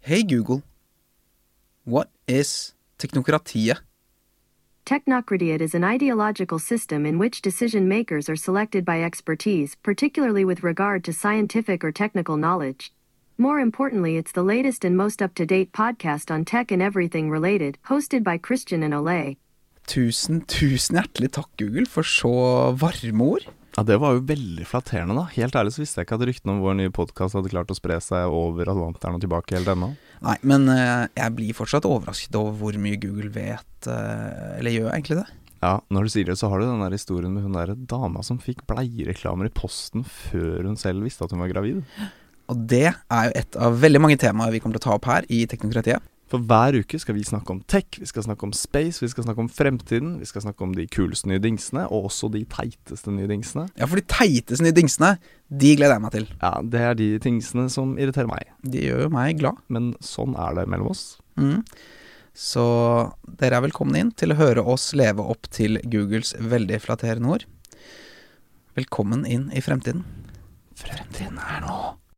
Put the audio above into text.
Hey Google, what is teknokratiet? Technocratiate is an ideological system in which decision makers are selected by expertise, particularly with regard to scientific or technical knowledge. More importantly, it's the latest and most up to date podcast on tech and everything related, hosted by Christian and Olay. Tusen, tusen hjertelig takk, Google, for så varme ord. Ja, Det var jo veldig flatterende, da. Helt ærlig så visste jeg ikke at ryktene om vår nye podkast hadde klart å spre seg over Atlanteren og tilbake helt ennå. Nei, men eh, jeg blir fortsatt overrasket over hvor mye Google vet, eh, eller gjør egentlig det. Ja, når du sier det, så har du den der historien med hun derre dama som fikk bleiereklamer i posten før hun selv visste at hun var gravid. Og det er jo et av veldig mange temaer vi kommer til å ta opp her i teknokratiet. For hver uke skal vi snakke om tech, vi skal snakke om space, vi skal snakke om fremtiden, vi skal snakke om de kuleste nye dingsene, og også de teiteste nye dingsene. Ja, for de teiteste nye dingsene, de gleder jeg meg til. Ja, det er de tingsene som irriterer meg. De gjør jo meg glad. Men sånn er det mellom oss. Mm. Så dere er velkomne inn til å høre oss leve opp til Googles veldig flatterende ord. Velkommen inn i fremtiden. Fremtiden er nå.